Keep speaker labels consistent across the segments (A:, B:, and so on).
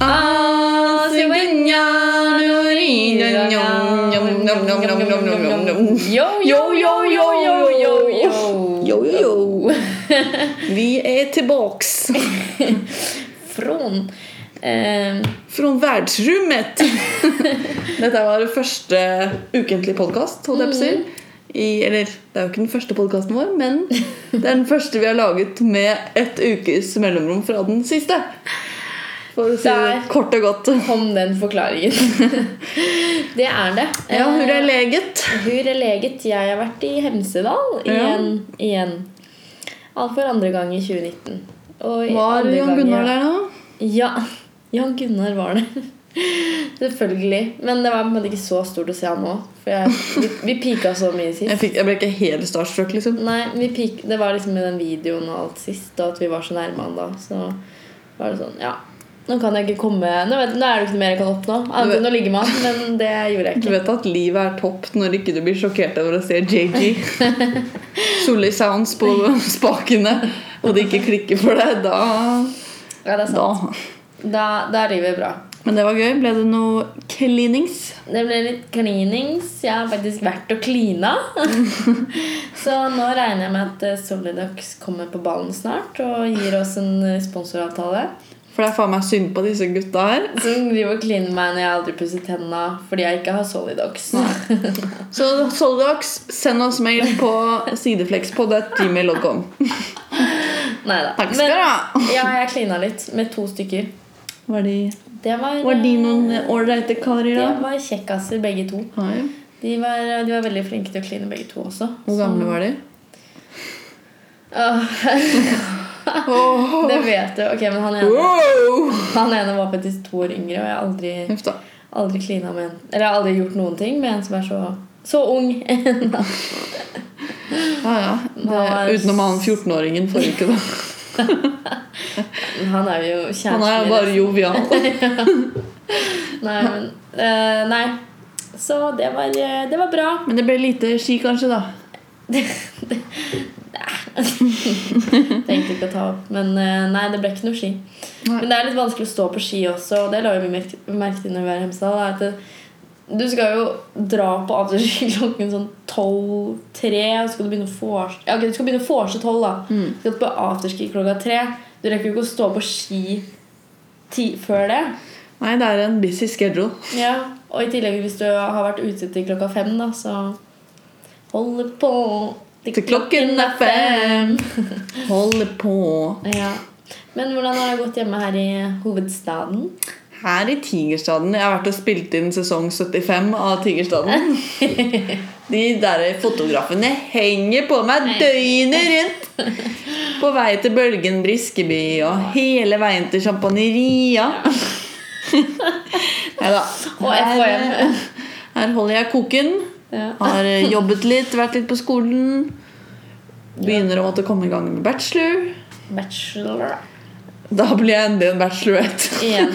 A: Ah, Nom-nom-nom-nom-nom-nom.
B: Yo, yo, yo, yo, yo, yo, yo.
A: Yo, yo, yo. Vi är tillbaks
B: Från eh,
A: från världsrummet. Dette var første ukentlige podkast, holdt jeg på å si. I, eller, det er jo ikke den første podkasten vår, men det er den første vi har laget med et ukes mellomrom fra den siste. For å si det
B: Der.
A: kort og godt.
B: kom den forklaringen. det er det.
A: Ja, hvor er leget?
B: Hur er leget? Jeg har vært i Hemsedal
A: Ja.
B: igjen. igjen. Alt for andre gang i 2019. Og i
A: Var
B: andre
A: Jan
B: gang
A: Gunnar
B: jeg-
A: der nå?
B: Ja. Jan Gunnar var det. Selvfølgelig. Men det var på en måte ikke så stort å se han nå. For jeg, vi, vi pika så mye
A: Jeg,
B: sist.
A: fikk, jeg ble ikke helt starstruck, liksom.
B: Nei, vi pik, Det var liksom i den videoen og alt sist, og at vi var så nærme han da. Så var det sånn, ja. Nå kan jeg ikke komme Nå, vet, nå er det ikke noe mer jeg kan oppnå. Annet enn å ligge med han, men det gjorde
A: Du
B: jeg ikke.
A: vet at livet er topp når ikke du blir sjokkert over å se JG. Solly Sounds på spakene, og det ikke klikker for deg. Da,
B: Ja, det er sant.
A: da
B: Da, da er livet bra.
A: Men det var gøy. Ble det noe klinings?
B: Det ble litt klinings. Jeg har faktisk vært og klina. så nå regner jeg med at eh, Solidox kommer på ballen snart og gir oss en eh, sponsoravtale.
A: For det er faen meg synd på disse gutta her.
B: Som driver og kliner meg når jeg aldri pusser tenna fordi jeg ikke har Solidox.
A: Så Soldox, send oss mail på sideflexpod.gmail.com.
B: Neida.
A: Takk skal du ha.
B: ja, jeg klina litt med to stykker.
A: Var de,
B: Det var,
A: var de noen ålreite karer,
B: de
A: da?
B: var kjekkaser, begge to.
A: Hei.
B: De var, eh, de var veldig flinke til å kline, begge to også.
A: Hvor gamle var de?
B: Åh, Ah. det vet du. Ok, men han ene,
A: Wow!
B: han ene var faktisk to år yngre, og jeg har aldri
A: Huff da.
B: aldri klina med en Eller jeg har aldri gjort noen ting med en som er så, så ung. Nei,
A: Ja, ja.
B: Var-
A: Det, utenom han 14-åringen forrige uke, da.
B: Han er jo
A: Han
B: kjæresten
A: er
B: min.
A: jo bare jovial.
B: Nei, men eh, Nei. Så det var, eh, det var bra.
A: Men det ble lite ski, kanskje, da.
B: Tenkte ikke å ta opp. Men eh, nei, det ble ikke noe ski.
A: Nei.
B: Men det er litt vanskelig å stå på ski også, og det la jo vi merke merke til når vi var i Hemsedal. er at det- Du skal jo dra på afterski klokken sånn tolv-tre, og så skal du begynne å vorse ja, ok, Du skal begynne å vorse tolv, da.
A: Mm.
B: Du skal på afterski klokka tre. Du rekker jo ikke å stå på ski ti før det.
A: Nei, det er en busy schedule.
B: Ja, Og i tillegg, hvis du har vært ute til klokka fem, da, så Holder på
A: Til klokken er fem. Holder på.
B: Ja. Men hvordan har det gått hjemme her i hovedstaden?
A: Her i Tigerstaden Jeg har vært og spilt inn sesong 75 av Tigerstaden. De der fotografene henger på meg døgnet rundt! På vei til Bølgen Briskeby og hele veien til Champagneria. Nei da.
B: Og FHM.
A: Her, eh, her holder jeg koken.
B: Ja.
A: Har eh, jobbet litt, vært litt på skolen. Begynner å måtte komme i gang med bachelor.
B: Bachelor
A: Da blir jeg endelig en bachelorette.
B: igjen.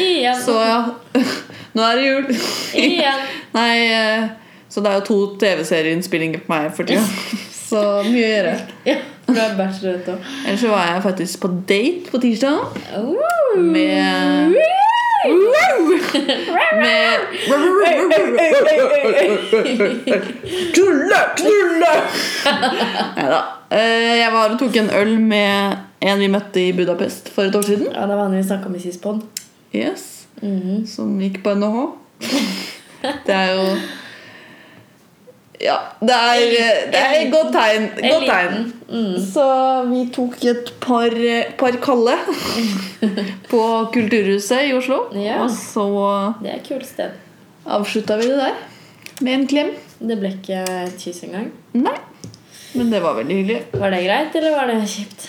B: Igjen.
A: Så ja, nå er det jul.
B: Igjen.
A: Nei, eh, så det er jo to TV-serieinnspillinger på meg for tida. Så mye å gjøre.
B: Ja, for du er bachelorette òg.
A: Ellers så var jeg faktisk på date på tirsdag med Med Knulle! Knulle! Nei da. Eh, Jeg var og tok en øl med en vi møtte i Budapest for et år siden.
B: Ja, det var han vi snakka om i sist pod.
A: Yes. Som gikk på NHH. Det er jo Ja, det er, det er et godt tegn. Godt tegn.
B: Mm.
A: Så vi tok et par, par kalde på Kulturhuset i Oslo.
B: Ja.
A: Og så
B: Det er et kult sted.
A: avslutta vi det der med en klem.
B: Det ble ikke et kyss engang.
A: Nei. Men det var veldig hyggelig.
B: Var det greit, eller var det kjipt?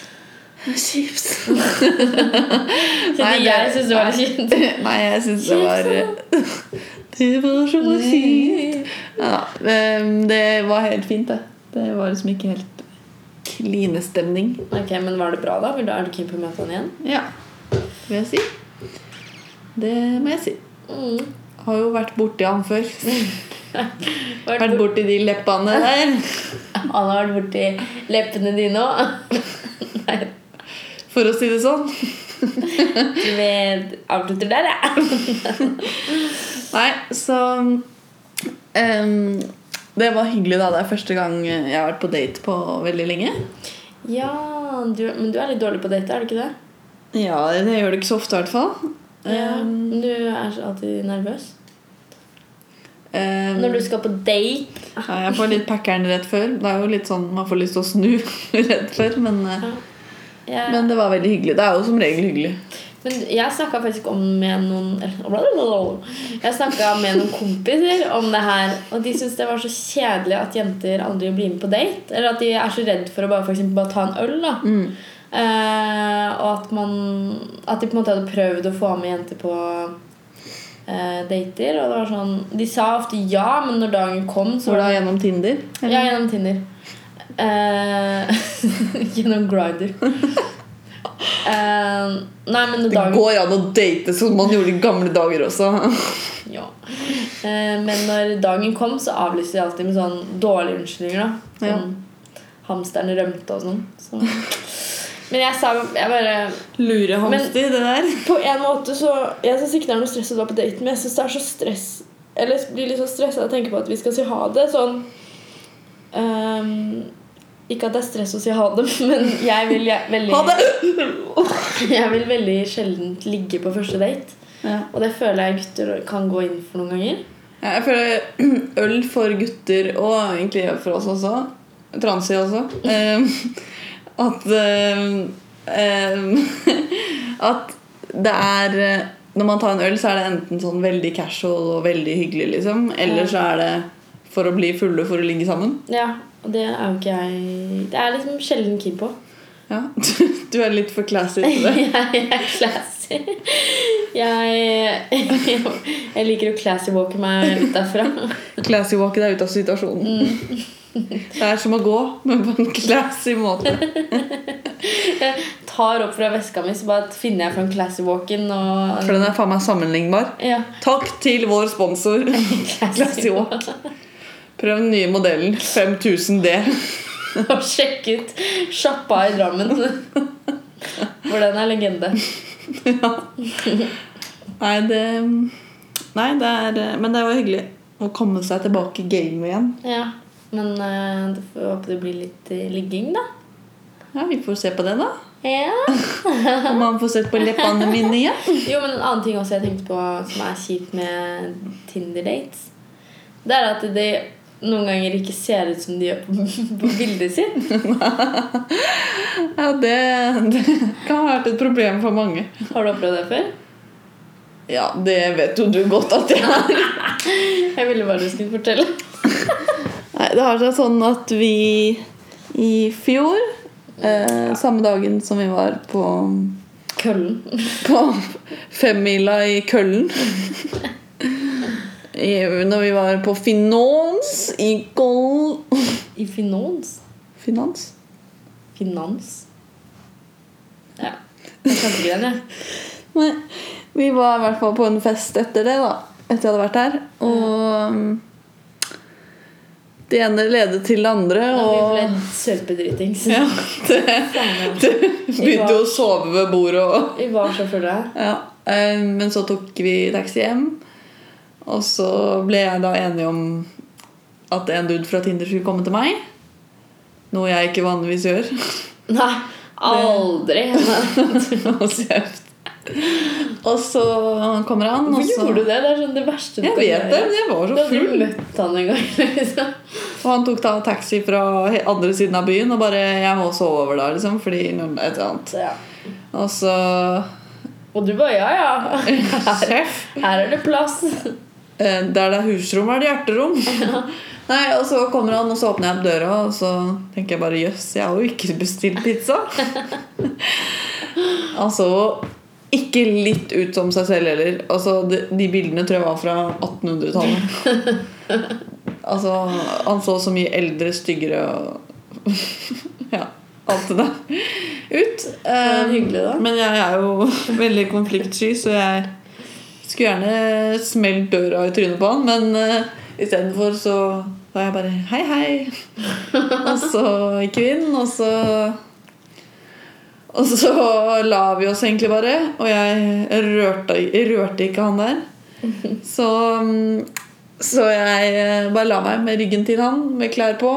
A: Chips.
B: Nei, jeg syns det var litt kjipt.
A: Nei, jeg syns det var Det var så kjipt. Ja, ehm, det var helt fint, det. Det var liksom ikke helt klinestemning.
B: Ok, Men var det bra, da? Vil du, er du keen på å møte han igjen?
A: Ja, vil jeg si. Det må jeg si.
B: Mm.
A: Har jo vært borti han før.
B: Vært
A: Vært borti de leppene der.
B: bort- Han har vært borti leppene dine òg. Nei,
A: For å si det sånn.
B: vi avslutter der, jeg.
A: Nei, så eh, Ehm, det var hyggelig, da. Det er første gang jeg har vært på date på veldig lenge.
B: Ja, du, men du er litt dårlig på date, er du ikke det?
A: Ja, jeg gjør det ikke så ofte, i hvert fall. Ehm,
B: Du er så alltid nervøs.
A: ehm,
B: Når du skal på date
A: ja, jeg får litt packeren rett før. Det er jo litt sånn man får lyst til å snu rett før, men, eh,
B: jeg, men,
A: men det var veldig hyggelig. Det er jo som regel hyggelig.
B: jeg snakka faktisk om med noen Jeg snakka med noen kompiser om det her. Og de syntes det var så kjedelig at jenter aldri blir med på date. Eller at de er så redd for å bare, for eksempel, bare ta en øl. da
A: Mm.
B: Eh, og at man At de på en måte hadde prøvd å få med jenter på eh, dater. Og det var sånn De sa ofte ja, men når dagen kom, så
A: Hvordan
B: var det
A: gjennom Tinder? eller?
B: Ja, gjennom Tinder. Eh, gjennom Grider. nei, men når
A: Det
B: dagen
A: går an å date som man gjorde i gamle dager også.
B: ja. Eh, Men når dagen kom, så avlyste de alltid med sånn dårlige unnskyldninger. da Sånn Hamsteren rømte og sånn. Så. Men jeg sa Jeg bare
A: Lure
B: hamster,
A: det der.
B: På en måte så Jeg syns ikke det er noe stress å dra på date, men jeg syns det er så stress Eller jeg blir litt så stressa av å tenke på at vi skal si ha det. Sånn ehm, Ikke at det er stress å si ha det, men jeg vil jeg, veldig
A: Ha det!
B: Jeg vil veldig sjelden ligge på første date.
A: Ja.
B: Og det føler jeg gutter kan gå inn for noen ganger.
A: Ja, Jeg føler øl for gutter, og egentlig for oss også, transi også, eh, at eh, eh, At det er eh, Når man tar en øl, så er det enten sånn veldig casual og veldig hyggelig, liksom. Eller så er det for å bli fulle for å ligge sammen.
B: Ja, og det er jo ikke jeg Det er jeg liksom sjelden keen på.
A: Ja. Du er litt for classy til det.
B: Jeg er classy. Jeg, jeg liker å classy walke meg litt derfra.
A: Classy walk deg ut av situasjonen. Det er som å gå, men på en classy måte.
B: tar opp fra veska mi, så bare finner jeg fram Classy Walken og
A: For den er faen meg sammenlignbar.
B: ja,
A: Takk til vår sponsor. Classy
B: Classy
A: Walk.
B: Walk.
A: Prøv den nye modellen. 5000D.
B: Og sjekk ut sjappa i Drammen. For den er legende.
A: Nei, det Nei, det er Men det var hyggelig å komme seg tilbake i gamet igjen.
B: Ja. Men eh, det får håpe det blir litt eh, ligging, da.
A: Ja, Vi får se på det, da.
B: Ja.
A: Om man får sett på leppene mine igjen.
B: Jo, men en annen ting også jeg tenkte på som er kjipt med Tinder-dates, det er at de noen ganger ikke ser ut som de gjør på, på bildet sitt.
A: Ja, det, det kan ha vært et problem for mange.
B: Har du opplevd det før?
A: Ja, det vet jo du godt at jeg er.
B: Jeg ville bare du skulle fortelle.
A: Nei, det har seg sånn at vi i fjor, eh, samme dagen som vi var på,
B: Køllen.
A: på femmila i Køllen i, Når vi var på finans i Kol...
B: I finans.
A: Finans?
B: Finans. Ja. Jeg skjønte ikke den, jeg.
A: Nei, vi var i hvert fall på en fest etter det, da. Etter jeg hadde vært her. Og mm, det ene ledet til det andre,
B: Da vi ble
A: og
B: sørpedritings.
A: ja, det,
B: Faen, ja.
A: det begynte jo å sove ved bordet og
B: Vi var så fulle.
A: Ja, eh, men så tok vi taxi hjem. Og så ble jeg da enig om at en dude fra Tinder skulle komme til meg. Noe jeg ikke vanligvis gjør.
B: Nei, aldri.
A: Hold kjeft. og så kommer han, og
B: Hvorfor
A: så
B: gjorde du det? Det er sånn det verste du
A: Jeg vet det, men jeg var
B: Du
A: så
B: har
A: full.
B: aldri møtt han engang. Liksom.
A: Og han tok da taxi fra he- andre siden av byen og bare 'Jeg må sove over der', liksom, fordi et eller annet.
B: Så, ja.
A: Og så
B: Og du bare ja, ja.
A: Sjef!
B: Her er det plass.
A: Eh, Der det er husrom, er det hjerterom. Nei, Og så kommer han, og så åpner jeg opp døra, og så tenker jeg bare jøss, jeg har jo ikke bestilt pizza. Han så ikke litt ut som seg selv heller. Altså, De, de bildene tror jeg var fra 1800-tallet. Altså, han så så mye eldre, styggere og Ja, alt det der ut.
B: var
A: Eh,
B: hyggelig, da.
A: Men jeg er jo veldig konfliktsky, så jeg skulle gjerne smelt døra i trynet på han, men uh, istedenfor så var jeg bare hei, hei. Og så gikk vi inn, og så Og så la vi oss egentlig bare, og jeg rørte, rørte ikke han der. Så mm, Så jeg eh, bare la meg med ryggen til han, med klær på.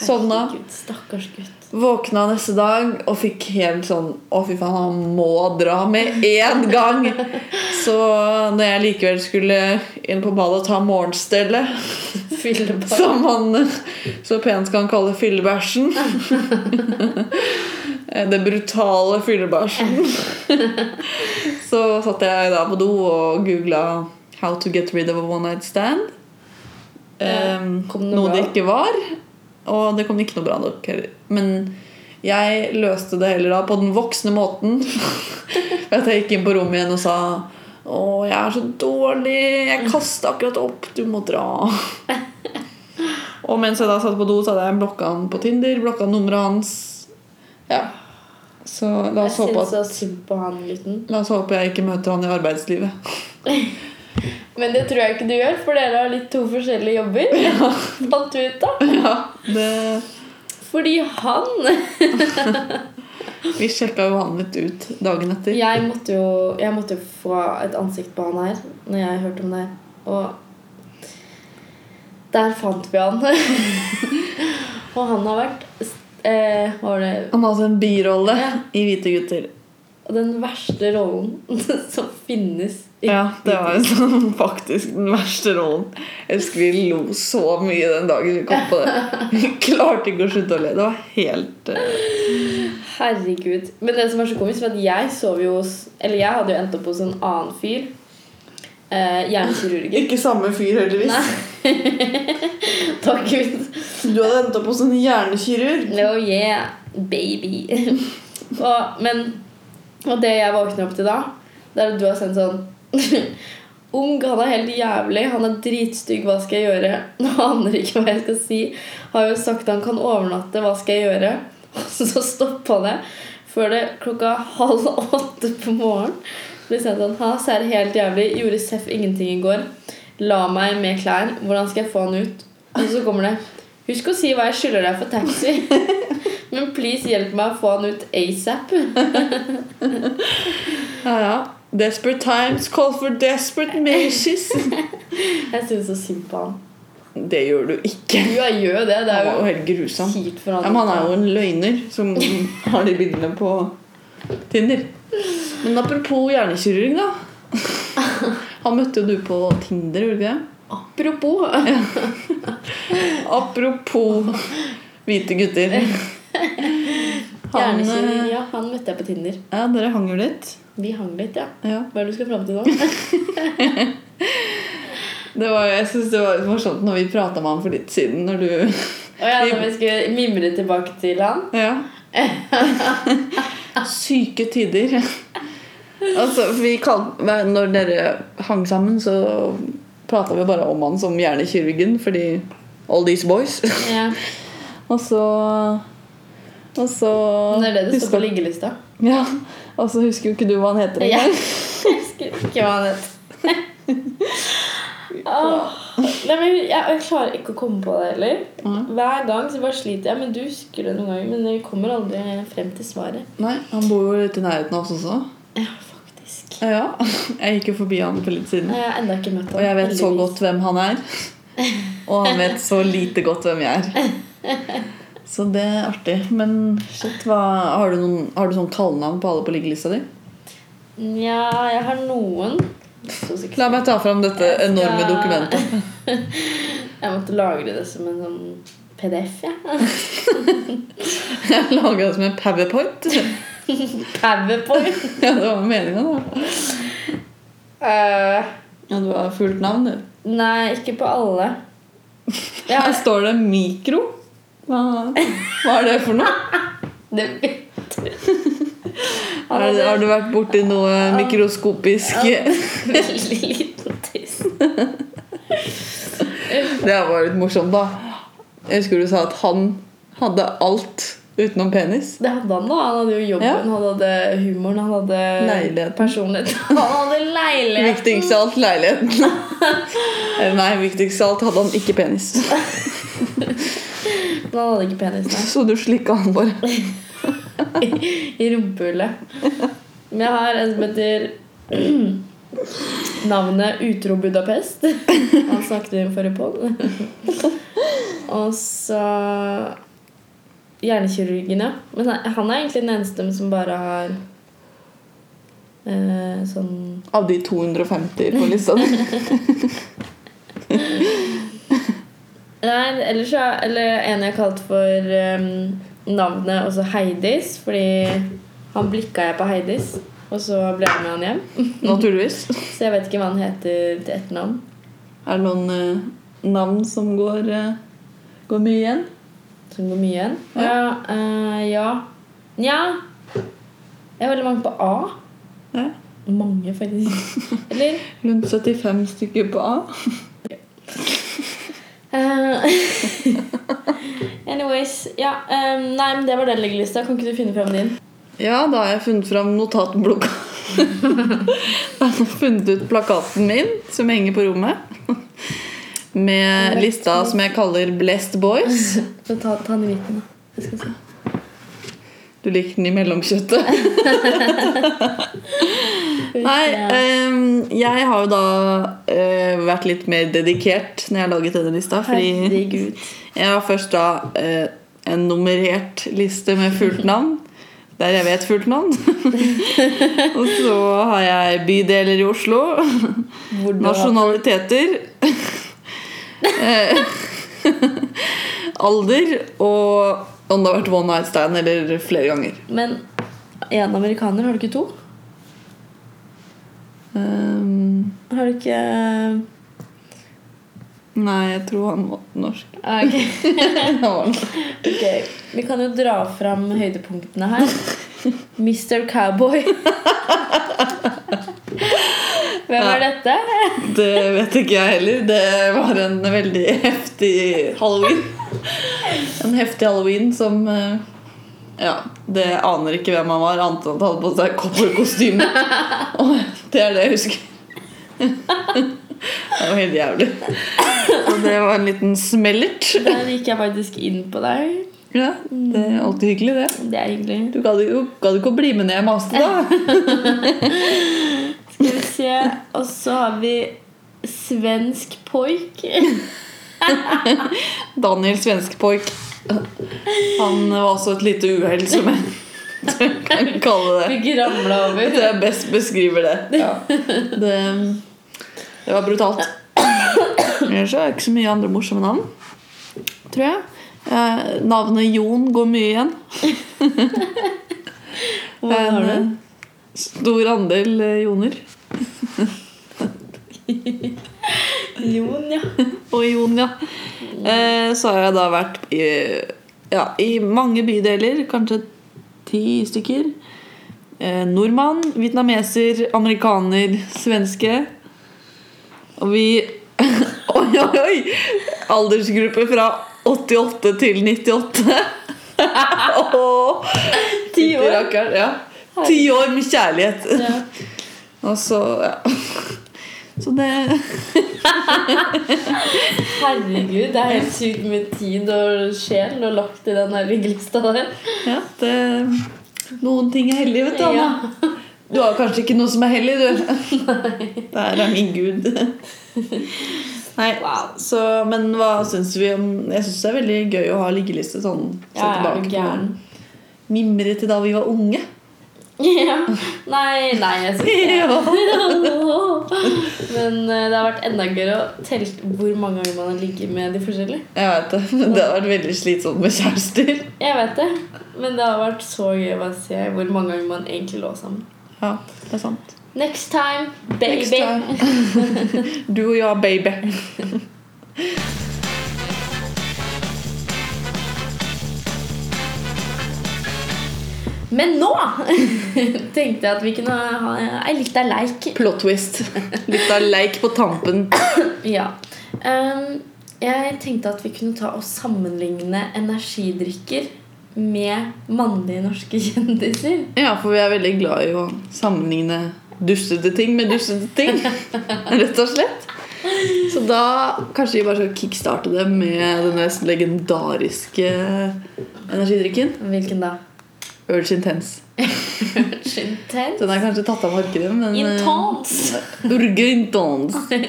A: Sovna.
B: Herregud, Stakkars gutt.
A: Våkna neste dag og fikk helt sånn Å, fy faen, han må dra med én gang! Så når jeg likevel skulle inn på badet og ta morgenstellet,
B: Fyllebarn.
A: som han så pent kan kalle fyllebæsjen Eh, Den brutale fyllebæsjen. Så satt jeg da på do og googla 'How to get rid of a one night stand'.
B: Ja,
A: Ehm,
B: Eh, kom det noe
A: noe det
B: bra?
A: ikke var. Og det kom ikke noe bra nok heller. Men jeg løste det heller da på den voksne måten. Ved at jeg gikk inn på rommet igjen og sa å, jeg er så dårlig. Jeg kasta akkurat opp. Du må dra. og mens jeg da satt på do, så hadde jeg blokka han på Tinder, blokka nummeret hans. Ja. Så la
B: Jeg
A: oss håpe
B: syns
A: at
B: så synd på han gutten.
A: La oss håpe jeg ikke møter han i arbeidslivet.
B: Men det tror jeg ikke du gjør, for dere har litt to forskjellige jobber. Fant vi ut da.
A: ja, det,
B: Fordi han
A: vi sjekka jo han litt ut dagen etter.
B: Jeg måtte jo, jeg måtte jo få et ansikt på han her når jeg hørte om det. Og der fant vi han. og han har vært eh, Hva var det
A: Han har altså en birolle
B: Ja.
A: i Hvite gutter.
B: Den verste rollen som finnes. i-
A: Ja, det var jo sånn, faktisk den verste rollen. Jeg husker vi lo så mye den dagen vi kom på det. Vi klarte ikke å slutte å le. Det var helt eh,
B: Herregud. Men det som var så komisk, var at jeg sov jo hos Eller jeg hadde jo endt opp hos en annen fyr. Eh, Hjernekirurgen.
A: Ikke samme fyr, heldigvis.
B: Nei. Takk, Gud.
A: Du hadde endt opp hos en hjernekirurg.
B: Oh yeah, baby. og, men, og det jeg våkner opp til da, det er at du har sendt sånn Ung, han er helt jævlig, han er dritstygg, hva skal jeg gjøre? Han aner ikke hva jeg skal si. Har jo sagt han kan overnatte, hva skal jeg gjøre? Og så stoppa det før det klokka halv åtte på morgenen. Ble sendt sånn, ha, så er det helt jævlig. Gjorde seff ingenting i går. La meg med klær. Hvordan skal jeg få han ut? Og så kommer det Husk å si hva jeg skylder deg for taxi. Men please hjelp meg å få han ut asap.
A: Ja, ja. Desperate times call for desperate measures.
B: Jeg syns så synd på han.
A: Det gjør du ikke.
B: Jo, jeg gjør jo det. Det
A: Han
B: er
A: var jo
B: jo
A: helt grusom.
B: kjipt for
A: Ja,
B: han.
A: men han er jo en løgner som har de bildene på Tinder. Men apropos hjernekirurg, da. Han møtte jo du på Tinder, gjorde du ikke det?
B: Apropos.
A: Apropos hvite gutter. Han,
B: Hjernekirurg.
A: eh,
B: Ja, han møtte jeg på Tinder.
A: ja, dere hang jo litt.
B: Vi hang litt, ja.
A: Ja.
B: Hva er det du skal fram til nå?
A: Det var, jeg syns det var litt morsomt når vi prata med han for litt siden, når du
B: Og ja, når vi skulle mimre tilbake til han.
A: Ja. Syke tider. Altså, vi kal- nei, Når dere hang sammen, så prata vi bare om han som hjernekirurgen, fordi All these boys.
B: Ja.
A: Og så Og så
B: Det er det det står på
A: husker,
B: liggelista.
A: ja, og så husker jo ikke du hva han heter.
B: Jeg husker ikke hva han het. Åh. Nei, men jeg, jeg klarer ikke å komme på det heller.
A: Nei.
B: Hver gang så bare sliter jeg. Men du husker det noen ganger. Men vi kommer aldri frem til svaret.
A: Nei, han bor jo litt i nærheten av oss også.
B: Ja, faktisk.
A: Ja, Jeg gikk jo forbi han for litt siden.
B: Jeg har ennå ikke møtt ham.
A: Og jeg vet så godt hvem han er. Og han vet så lite godt hvem jeg er. Så det er artig. Men shit, hva, har, du noen, har du sånn kallenavn på alle på liggelista di?
B: Nja, jeg har noen. To sekunder.
A: La meg ta fram dette
B: Jeg skal-
A: enorme dokumentet.
B: Jeg måtte lagre det som en sånn PDF, jeg. Ja.
A: Jeg laga det som en powerpoint.
B: PowerPoint.
A: Ja, det var meninga, da.
B: Eh,
A: Ja, du har fullt navn, du.
B: nei, ikke på alle. Jeg
A: Her
B: har
A: står det mikro. Hva, hva er det for noe?
B: det vet du. Han
A: Har,
B: hadde
A: har du vært borti noe mikroskopisk?
B: en veldig liten tiss.
A: Det her var litt morsomt, da. Jeg husker du sa at han hadde alt utenom penis.
B: Det hadde han, da. Han hadde jo jobben,
A: Ja.
B: han hadde humoren, han hadde
A: Leiligheten.
B: Eh, personligheten. Han hadde leilighet!
A: Viktigst av alt leiligheten. Eller Nei, viktigst av alt hadde han ikke penis.
B: Men han hadde ikke penis, nei.
A: Så du slikka han bare.
B: I rumpehullet. Men jeg har en som heter navnet Utro Budapest. Han snakket vi om forrige podd. Og så hjernekirurgen, ja. Men han- han er egentlig den eneste som bare har eh, sånn
A: Av de 250 på lista di.
B: Nei, ellers så Eller en jeg kalte for em, navnet også Heidis, fordi han blikka jeg på Heidis, og så ble jeg med han hjem.
A: Naturligvis.
B: Så jeg vet ikke hva han heter til etternavn.
A: Er det noen eh, navn som går, eh, går mye igjen?
B: Som går mye igjen.
A: Ja.
B: Ja. eh, ja. Nja Jeg har veldig mange på A.
A: Ja.
B: Mange, faktisk. Eller
A: Rundt 75 stykker på A.
B: eh, Anyways. Ja, eh, nei, men det var den leggelista. Kan ikke du finne fram din?
A: Ja, da har jeg funnet fram notatblokka. da har jeg funnet ut plakaten min, som henger på rommet. Med lista som jeg kaller 'Blessed Boys'.
B: Så ta, ta den i midten, da. Jeg skal se.
A: Du liker den i mellomkjøttet. Nei,
B: eh,
A: ehm, jeg har jo da eh, vært litt mer dedikert når jeg har laget denne lista. Fordi
B: Herregud.
A: jeg har først da eh, en nummerert liste med fullt navn. Der jeg vet fullt navn. Og så har jeg bydeler i Oslo.
B: Hvor du har-
A: Nasjonaliteter. eh, alder og om det har vært one night stand eller flere ganger.
B: Men én amerikaner, har du ikke to?
A: Ehm,
B: Har du ikke eh,
A: nei, jeg tror han var norsk.
B: Ah, ok.
A: Han var norsk.
B: Ok, Vi kan jo dra fram høydepunktene her. Mr. Cowboy. Hvem er dette?
A: Det vet ikke jeg heller. Det var en veldig heftig halloween. En heftig halloween som eh, Ja, det aner ikke hvem han var, annet enn at han hadde på seg cowboykostyme. Og det er det jeg husker. Det var helt jævlig. Og det var en liten smellert.
B: Der gikk jeg faktisk inn på deg.
A: Ja, det er alltid hyggelig, det.
B: Det er hyggelig.
A: Du gadd jo- gadd ikke å bli med ned jeg maste, da.
B: Skal vi se. Og så har vi svensk poik.
A: Daniel Svenskpoik. Han var også et lite uhell, som jeg kan kalle det.
B: Fikk ramla over.
A: Det jeg best beskriver det. Det, um, det var brutalt. Ellers så er det ikke så mye andre morsomme navn, tror jeg. Eh, navnet Jon går mye igjen.
B: Hva
A: En,
B: har du?
A: eh, Stor andel eh, joner.
B: Jon, ja.
A: Og Jon, ja. Eh, så har jeg da vært i, ja, i mange bydeler, kanskje ti stykker. Eh, nordmann, vietnameser, amerikaner, svenske. Og vi Oi, oi, oi! Aldersgruppe fra 88 til 98. Åh,
B: Ti
A: fytti
B: år.
A: rakkeren, Ja. Ti år med kjærlighet.
B: Ja.
A: Og så ja. Så det
B: Herregud, det er helt sykt med tid og sjel og lagt i den der liggelista der.
A: Ja, det, noen ting er hellige, vet du, Anna. Du har kanskje ikke noe som er hellig, du. Der er min gud. Nei,
B: Wow.
A: så, men hva syns vi om Jeg syns det er veldig gøy å ha liggeliste sånn. se
B: Ja, jeg er
A: tilbake
B: jo
A: på.
B: gæren.
A: Mimre til da vi var unge.
B: Ja. Nei, nei, jeg synes ikke
A: Ja.
B: Men eh, det har vært enda gøyere å telle hvor mange ganger man har ligget med de forskjellige.
A: Jeg vet det. men Det har vært veldig slitsomt med kjærester.
B: Jeg vet det, men det har vært så gøy å bare se hvor mange ganger man egentlig lå sammen.
A: Ja, det er sant.
B: Next time, baby!
A: Next time. Du og jeg, baby.
B: Men nå tenkte jeg at vi kunne ha ei lita leik.
A: Plot twist. Litt av leik på tampen.
B: Ja. Ehm, jeg tenkte at vi kunne ta og sammenligne energidrikker med mannlige norske kjendiser.
A: Ja, for vi er veldig glad i å sammenligne dustete ting med dustete ting. Rett og slett. Så da kanskje vi bare skal kickstarte det med den mest legendariske eh, energidrikken.
B: Hvilken da?
A: Urge Intense.
B: Intense.
A: Den er kanskje tatt av markedet, men eh,
B: Intense.
A: Urge Intense.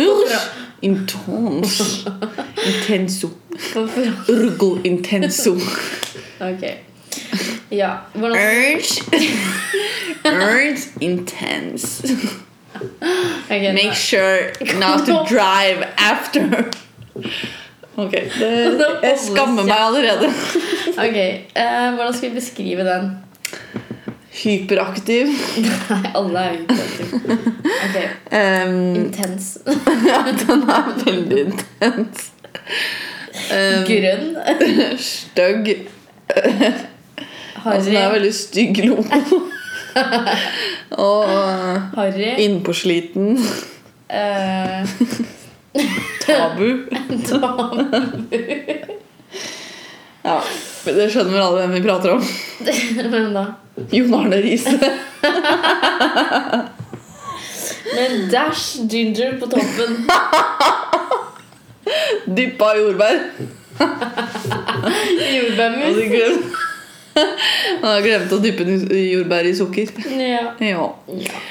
A: Urge Intense. Intenso. Urgo Intenso.
B: Ok. Ja. Hvordan
A: Urge. Urge Intense.
B: Ok,
A: Make sure not to drive after. Ok. Det, jeg skammer meg allerede.
B: ok, eh, Hvordan skal vi beskrive den?
A: Hyperaktiv.
B: Nei, alle er utdatert. Ok,
A: Um,
B: Intens.
A: ja, den er veldig intens. Um,
B: Grønn.
A: Stygg. Altså, den er
B: Harry.
A: veldig stygg logo. Og uh,
B: Harry.
A: innpåsliten.
B: eh,
A: Tabu.
B: dame.
A: Ja, Det skjønner vel alle hvem vi prater om.
B: Hvem da?
A: Jon Arne Riise.
B: Med dash ginger på toppen.
A: Dyppa jordbær.
B: Jordbærmus.
A: Hadde glemt. Han har glemt å dyppe den i jordbær i sukker.
B: Ja.
A: Ja,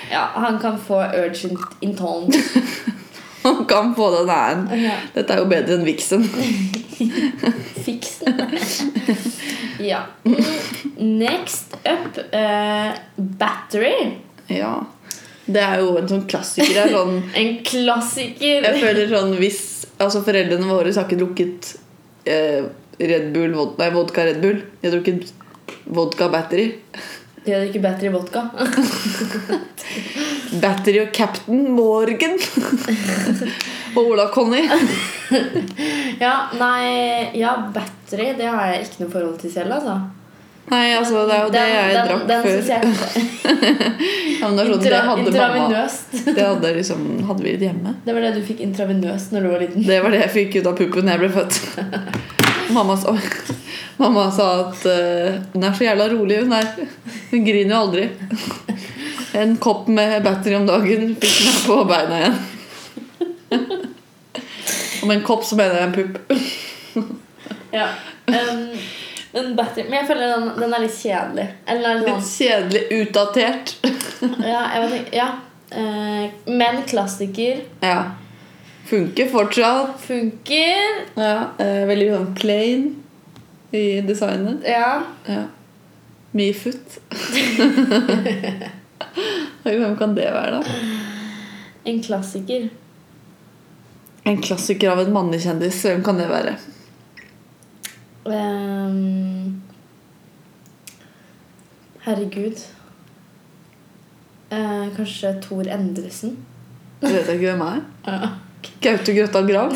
B: ja, han kan få urgent intolerance.
A: han kan få den æren.
B: Ja.
A: Dette er jo bedre enn viksen.
B: Fiks den. ja. Next up eh, battery.
A: Ja. Det er jo en sånn klassiker. her, sånn,
B: En klassiker.
A: jeg føler sånn hvis altså Foreldrene våre har ikke drukket eh, Red Bull, vod, nei, vodka Red Bull. De har drukket vodka Battery.
B: De hadde ikke battery vodka.
A: Battery og Captain Morgan. og Ola Conny.
B: ja, nei Ja, battery det har jeg ikke noe forhold til selv, altså.
A: Nei, altså, det er jo det
B: Den-
A: jeg
B: den-
A: drakk
B: den
A: før.
B: synes jeg-
A: Ja, men det, er sånn, det,
B: intra-
A: hadde mamma,
B: Intravenøst.
A: det hadde, liksom, hadde vi hjemme.
B: Det var det du fikk intravenøst når du var liten.
A: Det var det jeg fikk ut av puppen da jeg ble født. Mamma sa, mamma sa at eh, hun er så jævla rolig, hun der. Hun griner jo aldri. En kopp med battery om dagen fikk meg på beina igjen. Og med en kopp så mener jeg en pupp.
B: Ja. Um, men battery Men jeg føler den, den er litt kjedelig. Eller den er
A: Litt kjedelig, utdatert.
B: sånn Ja. Jeg vet ikke, ja. Eh, men klassiker
A: Ja. Funker fortsatt.
B: funker.
A: Ja, eh, veldig sånn plain i designet.
B: Ja.
A: Ja. Mye foot. Hvem kan det være, da?
B: En klassiker.
A: En klassiker av en mannlig kjendis. Hvem kan det være?
B: Ehm, herregud. Eh, kanskje Tor Endresen.
A: Det vet jeg ikke hvem er.
B: Ja.
A: Gaute Grøtta Grav.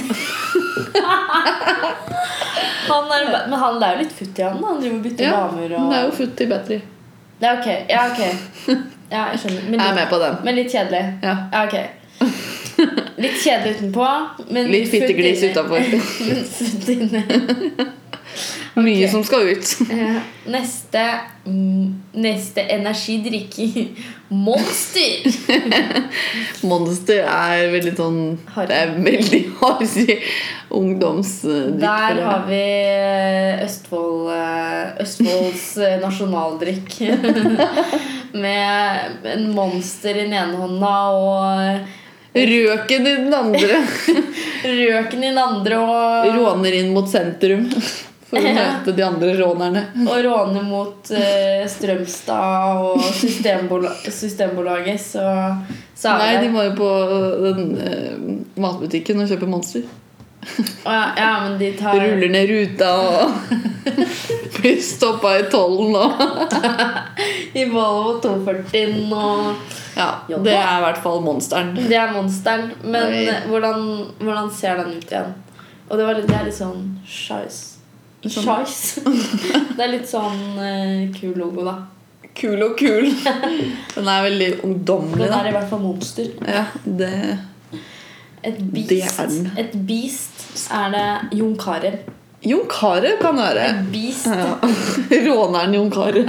B: Han er, men han det er jo litt futt i han. da. Han driver og bytter
A: Ja,
B: damer
A: Hun
B: og
A: er jo futt i battery.
B: Ja, ok. Ja, ok. Ja, jeg skjønner. Men
A: Jeg er
B: litt,
A: med på den.
B: men litt kjedelig.
A: Ja.
B: Ja, ok. Litt kjedelig utenpå, men
A: Litt
B: futt
A: fitteglis
B: inni.
A: utafor.
B: Men futt inni.
A: Mye
B: Ok.
A: som skal ut.
B: Eh, Neste mm, Neste energidrikk Monster!
A: Monster er veldig sånn
B: Harry.
A: Det er veldig harry ungdomsdrikk.
B: Der
A: føler jeg.
B: har vi Østfold, eh, Østfolds eh, nasjonaldrikk. Med en monster i den ene hånda og
A: Røken i den andre
B: røken i den andre. Og,
A: råner inn mot sentrum for å
B: Ja.
A: møte de andre rånerne.
B: og råne mot eh, Strømstad og systembola Systembolaget. Så, så
A: Nei, de
B: er det
A: må jo på øh, den eh, matbutikken og kjøpe Monster.
B: Å ja, ja, men de tar
A: Ruller ned ruta og blir stoppa i tollen og
B: i Volvo 240 og
A: Ja, det er i hvert fall monsteren.
B: Det er monsteren. Men
A: Oi.
B: eh, hvordan, hvordan ser den ut igjen? Og det, var litt, det er litt sånn skeis.
A: Sånn.
B: Skeis. det er litt sånn eh, kul logo, da.
A: Kul og kul. Den er veldig ungdommelig,
B: Den
A: da.
B: er i hvert fall monster.
A: Ja, det
B: Et
A: Det
B: beast.
A: er den.
B: Et beast er det Jon Carew.
A: Jon Carew kan være.
B: Et beast.
A: Ja. Råneren Jon Carew.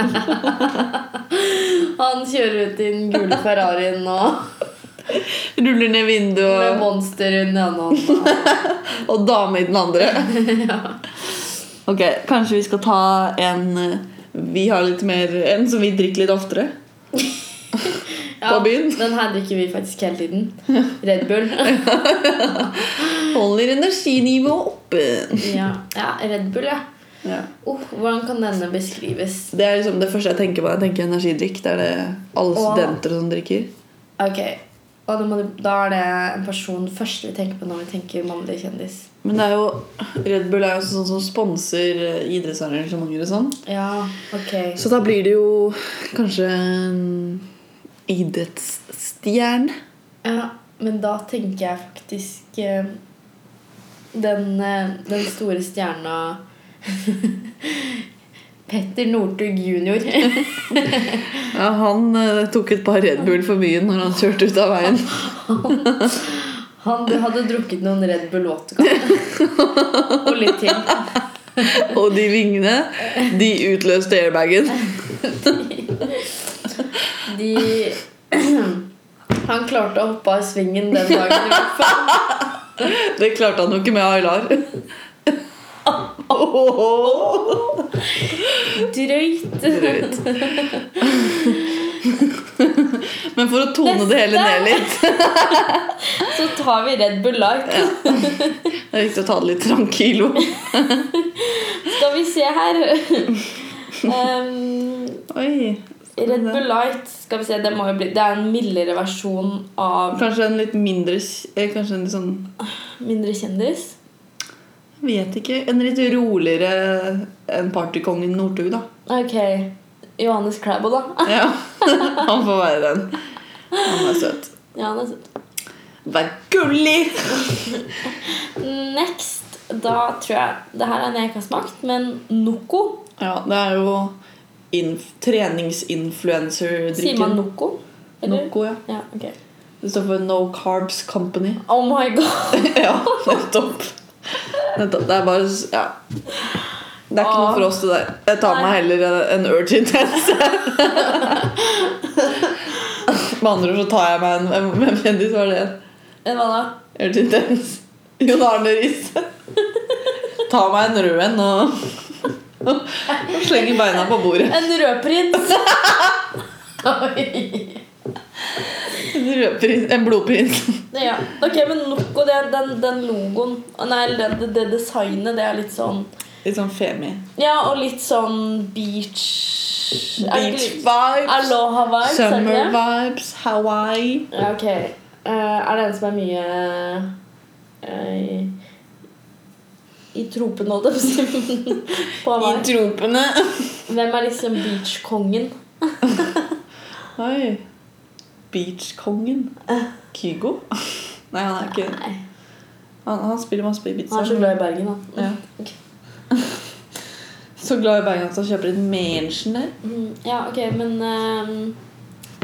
B: Han kjører ut i den gule Ferrarien og
A: Ruller ned
B: med
A: vinduet,
B: monster under den hånda.
A: og, og dame i den andre. Ok, kanskje vi skal ta en eh, vi har litt mer enn, som vi drikker litt oftere
B: Ja,
A: på byen.
B: Den her drikker vi faktisk hele tiden. Red Bull.
A: Holder energinivået oppe.
B: Ja, ja Red Bull, ja.
A: Ja.
B: Oh, hvordan kan denne beskrives?
A: Det er liksom det første jeg tenker på når jeg tenker energidrikk. Det er det alle
B: Åh.
A: studenter som drikker.
B: Ok, og da, må du, da er det en person først vi tenker på når vi tenker mannlig kjendis.
A: Men det er jo, Red Bull er jo sånn som sponser eh, idrettsarrangementer og sånn.
B: Ja, ok.
A: Så da blir det jo kanskje en idrettsstjerne.
B: Ja, men da tenker jeg faktisk eh, den, eh, den store stjerna Petter Northug jr.
A: Ja, han eh, tok et par Red Bull for mye når han kjørte ut av veien.
B: Han hadde drukket noen Red Bull Vodka. Og litt til.
A: Og de vingene, de utløste airbagen.
B: De Han klarte å hoppe av svingen den dagen. i hvert fall.
A: Det klarte han jo ikke med Aylar. Åh.
B: Drøyt.
A: Drøyt. Men for å tone det hele ned litt
B: Så tar vi Red Bull Light.
A: Det er viktig å ta det litt tranquilo.
B: Skal vi se her Ehm,
A: Oi.
B: Red Bull Light skal vi se, det, må jo bli, det er en mildere versjon av
A: Kanskje en litt mindre s- eh, Kanskje en litt sånn
B: Mindre kjendis.
A: Vet ikke. En litt roligere enn partykongen Northug, da.
B: Ok. Johannes Klæbo, da.
A: Ja. Han får være den. Han er søt.
B: Ja, han er søt.
A: Vær gullig!
B: Next. Da tror jeg Det her er en jeg ikke har smakt, men Noco.
A: Ja, det er jo inf
B: Sier man
A: treningsinfluencer-drikken.
B: Noco? Eller?
A: Noco, ja.
B: Ja, ok.
A: Det står for No Carbs Company.
B: Oh my god!
A: ja, nettopp. nettopp. Det er bare s- Ja. Det er ikke noe for oss, det der. Jeg tar meg heller en- en urgent helse. Med andre ord så tar jeg meg en Hvem hvem kjendis var det?
B: Men hva da?
A: Urgent helse. Jon Arne Riise. Ta meg en rød en og, og slenger beina på bordet.
B: En rødprins! Oi.
A: En, rødprins, en blodprins.
B: Ja. Ok, men Noco, det er den, den logoen Å, Nei, eller det, det designet, det er litt sånn
A: Litt sånn femi.
B: Ja, og litt sånn beach Er det ikke
A: Beach
B: litt-
A: vibes.
B: Aloha vibes, er det
A: Summer
B: ikke det?
A: vibes. Hawaii.
B: Ja, ok. Eh, er det en som er mye eh, i, i tropen, holdt jeg på å si? På
A: I
B: Hawaii.
A: tropene.
B: Hvem er liksom beachkongen?
A: Oi. Beachkongen.
B: Eh.
A: Kygo? Nei, han er ikke
B: Nei,
A: Han, han spiller masse på Ibiza.
B: Han er så glad i Bergen, da.
A: Ja.
B: Ok.
A: Så glad i Bergen at han kjøper et mansion der.
B: Mm, ja, ok, men eh,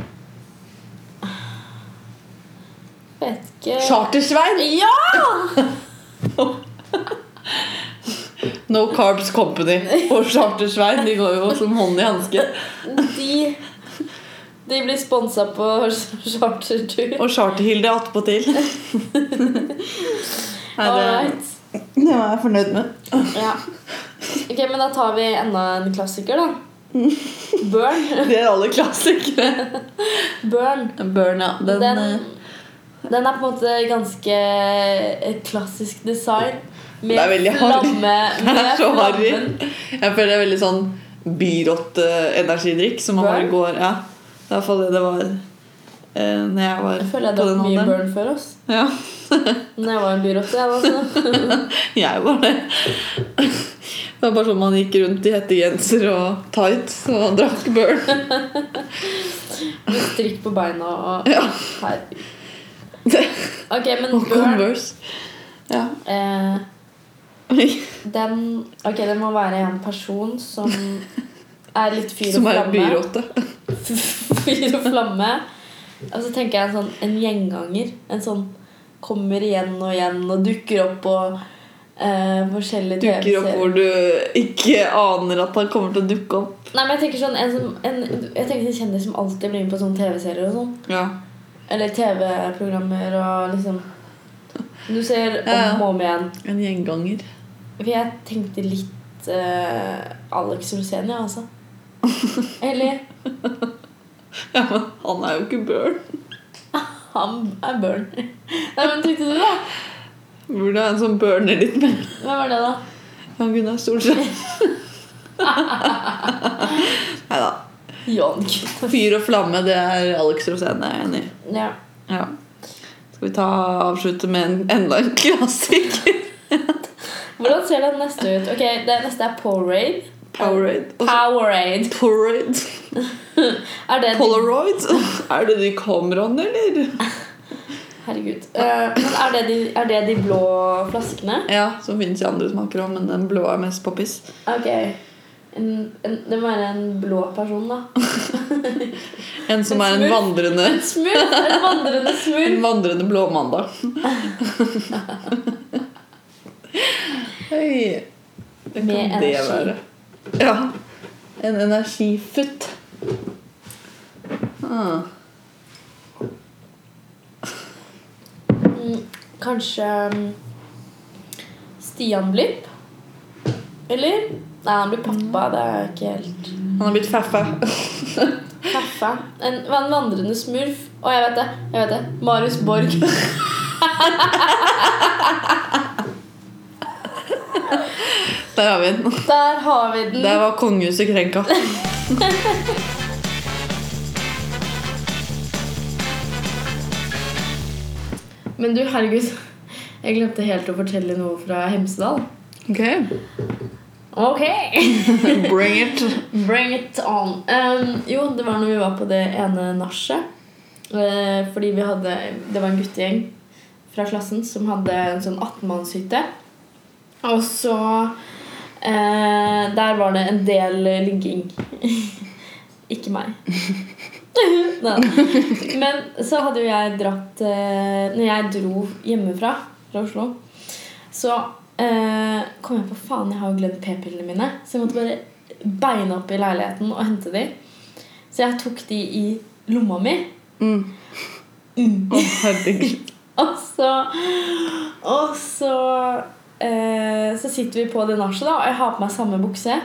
B: Vet ikke
A: Chartersvein!
B: Ja!
A: No Carbs Company og Chartersvein de går jo som hånd i hanske.
B: De, de blir sponsa på chartertur.
A: Og Charterhilde attpåtil. Nei, det,
B: Alright.
A: det var jeg fornøyd med.
B: Ja. Ok, men da tar vi enda en klassiker, da. Burn.
A: Det er alle klassikere.
B: Burn.
A: Burn, ja. Den,
B: Den,
A: eh,
B: den er på en måte ganske et klassisk design. Med
A: Det er veldig harry.
B: Med
A: Det er så harry.
B: flammen.
A: Jeg føler det er veldig sånn byrotte-energidrikk som man bare
B: Burn?
A: går Ja, det er i hvert fall det det var eh, når jeg var
B: Jeg føler jeg
A: på den
B: drakk mye
A: alderen.
B: burn før. Oss.
A: Ja,
B: Når jeg var en byrotte. Jeg, altså.
A: jeg var det. Det var bare sånn man gikk rundt i hettegenser og tights og drakk burn.
B: Med strikk på beina og
A: Ja.
B: Herregud. Ok, men
A: Og
B: burn
A: Converse. Ja.
B: eh, den, Ok, det må være en person som er litt fyr og
A: Som er
B: flamme.
A: byrotte.
B: fyr og flamme. Og så tenker jeg en sånn en gjenganger. En sånn kommer igjen og igjen og dukker opp på eh, forskjellige
A: Dukker opp
B: TV-serier.
A: hvor du ikke aner at han kommer til å dukke opp.
B: Nei, men jeg tenker sånn en, som- en, jeg tenker en kjendis som alltid blir med på sånne TV-serier og sånn.
A: Ja.
B: Eller TV-programmer og liksom Du ser om
A: Ja, ja.
B: og om igjen.
A: En gjenganger.
B: For jeg tenkte litt eh, Alex Rosén, ja, altså. Eller
A: Ja, men han er jo ikke Burn.
B: han er Burn. Nei, men tenkte du, da?
A: Burde ha en som burner litt mer.
B: Hvem var det, da?
A: Han Gunnar Solskjær. Nei da.
B: Jan Gunnar.
A: Fyr og flamme, det er Alex Rosén, jeg er enig i.
B: Ja.
A: Ja. Skal vi ta avslutte med en, enda en klassiker?
B: Hvordan ser den neste ut? Ok, det neste er Powerade.
A: Powerade. Og så
B: Powerade.
A: Polaroid.
B: Er det
A: Polaroid? Er det de kameraene, eller?
B: Herregud. Eh, men er det, de, er det de blå flaskene?
A: Ja, som finnes i andre smaker òg, men den blå er mest poppis.
B: Ok. En, en, det må være en blå person, da.
A: En som er en
B: Smurf.
A: vandrende
B: En smurf! En vandrende smurf.
A: En vandrende blåmandag. Hei. Det kan
B: Med
A: det
B: energi.
A: være. Ja. En energifutt. Ah.
B: Mm, Kanskje mm, Stian Blipp? Eller? Nei, han blir pappa. Det er ikke helt
A: Han har blitt faffa.
B: Kaffe. En, en vandrende smurf. Å, jeg vet det. jeg vet det Marius Borg.
A: Der har vi den.
B: Der har vi den.
A: Der var kongehuset krenka.
B: Men du, herregud. Jeg glemte helt å fortelle noe fra Hemsedal.
A: Ok,
B: Ok!
A: Bring it.
B: Bring it on. Um, jo, det var når vi var på det ene nachet. Eh, fordi vi hadde Det var en guttegjeng fra klassen som hadde en sånn 18-mannshytte. Og så eh, Der var det en del ligging. Ikke meg. Nei. Men så hadde jo jeg dratt eh, Når jeg dro hjemmefra fra Oslo, så eh, kom jeg på faen, jeg har jo glemt p-pillene mine. Så jeg måtte bare beine opp i leiligheten og hente de. Så jeg tok de i lomma mi.
A: Mm. Å, herregud.
B: Og så Og så eh, Så sitter vi på det nachet, da, og jeg har på meg samme bukse.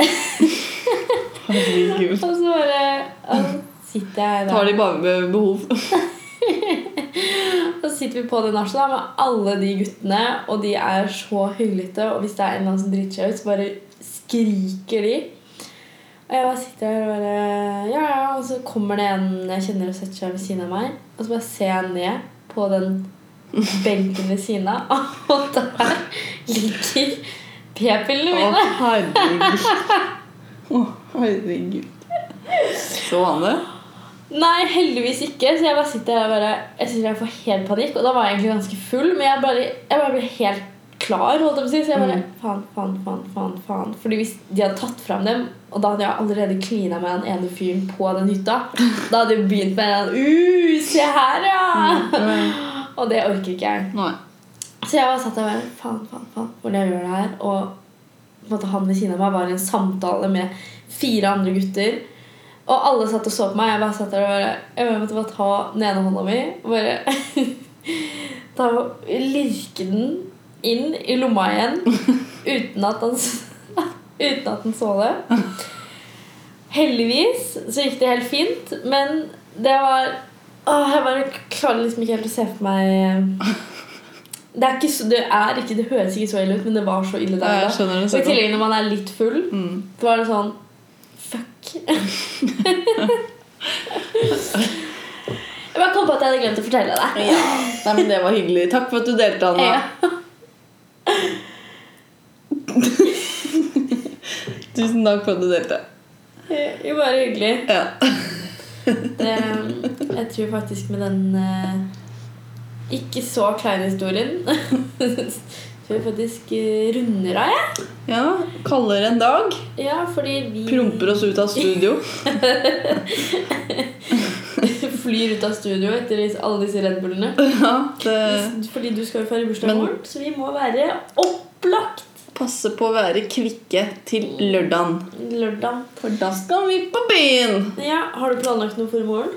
B: Og
A: herregud.
B: så bare og så sitter jeg der.
A: Tar de bare ved behov.
B: Så sitter vi på det nachet da, med alle de guttene, og de er så høylytte. Og hvis det er en eller annen som driter seg ut, så bare skriker de. Og jeg bare sitter der og bare Ja, ja. Og så kommer det en jeg kjenner og setter seg ved siden av meg. Og så bare ser jeg ned på den benken ved siden av, og der ligger
A: Å,
B: p-pillene mine.
A: herregud. Å, herregud. Så han det?
B: Nei, heldigvis ikke. Så jeg bare sitter her og bare Jeg synes jeg får helt panikk. Og da var jeg egentlig ganske full, men jeg bare, jeg bare ble helt klar. holdt jeg på å si Så jeg bare faen, faen, faen, faen, faen. Fordi hvis de hadde tatt fram dem, og da hadde jeg allerede klina med den ene fyren på den hytta, da hadde jeg begynt med en Uh, se her,
A: Mm.
B: ja! Og det orker ikke jeg.
A: Nei.
B: Så jeg bare satt der og bare faen, faen, faen. Hvordan jeg gjør det her? Og på en måte han ved siden av meg var i en samtale med fire andre gutter. Og alle satt og så på meg. Jeg bare satt der og bare, jeg bare måtte bare ta den ene hånda mi og bare ta og lirke den inn i lomma igjen uten at han, s- uten at han så det. Heldigvis så gikk det helt fint, men det var Åh, jeg bare klarer liksom ikke helt å se for meg Det er ikke så, det er ikke, det høres ikke så ille ut, men det var så ille
A: Ja,
B: der.
A: jeg
B: da.
A: skjønner det
B: Og i
A: så godt.
B: tillegg når man er litt full,
A: Mm.
B: så var det sånn Fuck. jeg bare kom på at jeg hadde glemt å fortelle deg.
A: Nei, men det var hyggelig. Takk for at du delte, Anna.
B: Ja.
A: Tusen takk for at du delte.
B: Jo, bare hyggelig.
A: Ja.
B: Det, jeg tror faktisk med den eh, ikke så kleine historien tror jeg faktisk eh, runder av, jeg.
A: ja. Kaldere en dag.
B: Ja, fordi vi
A: Promper oss ut av studio.
B: flyr ut av studio etter disse- alle disse Red Bullene.
A: Ja, det
B: Fordi du skal jo feire bursdag i
A: Eh. Men-
B: morgen, så vi må være opplagt
A: Passe på å være kvikke til lørdagen.
B: lørdag.
A: For da skal vi på byen!
B: Ja, Har du planlagt noe for i morgen?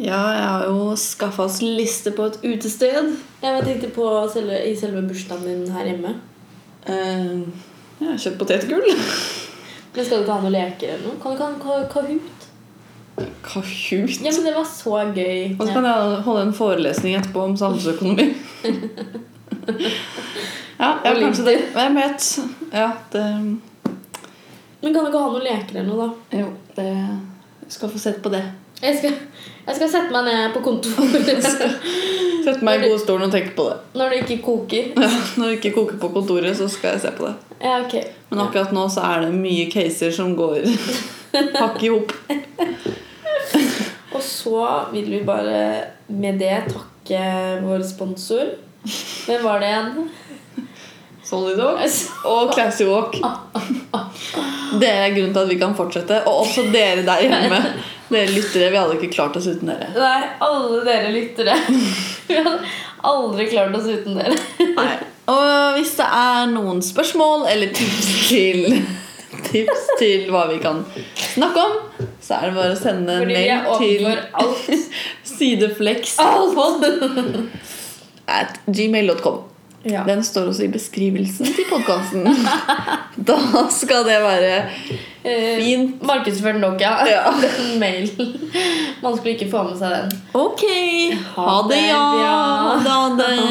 A: Ja, jeg har jo skaffa oss liste på et utested.
B: Jeg tenkte på selve, i selve bursdagen din her hjemme.
A: Eh, jeg har kjøpt potetgull.
B: Men skal du ikke ha noen leker eller noe? Kan du ikke ha en ka- Kahoot?
A: Kahoot.
B: Ja, men det var så gøy.
A: Og så kan jeg holde en forelesning etterpå om samfunnsøkonomi. ja, ja,
B: Og
A: kanskje det. Hvem vet? Ja, det
B: Men kan du ikke ha noen leker eller noe, da?
A: Jo, det jeg skal få sett på det.
B: Jeg skal, jeg skal sette meg ned på kontoret
A: Sette meg i godstolen og tenke på det.
B: når det ikke koker.
A: Ja, når det ikke koker på kontoret, så skal jeg se på det.
B: Ja, ok.
A: Men akkurat nå så er det mye caser som går hakk i hop.
B: Og så vil vi bare med det takke vår sponsor. Hvem var det igjen?
A: Solid Walk Sånn og Classy Walk. Det er grunnen til at vi kan fortsette. Og også dere der hjemme. Dere lyttere. Vi hadde ikke klart oss uten dere.
B: Nei, alle dere lyttere. Vi hadde aldri klart oss uten dere.
A: Nei. Og hvis det er noen spørsmål eller tips til Tips til hva vi kan snakke om, så er det bare å sende en
B: Fordi vi er
A: mail til
B: overfor alt.
A: sideflex at gmail.com.
B: Ja.
A: Den står også i beskrivelsen til podkasten. Da skal det være
B: Eh,
A: fint.
B: Markedsfør nok, ja.
A: Ja.
B: Den mailen. Man skulle ikke få med seg den.
A: Ok. Ha
B: Ha
A: det,
B: det,
A: ja.
B: ja.
A: Ha det.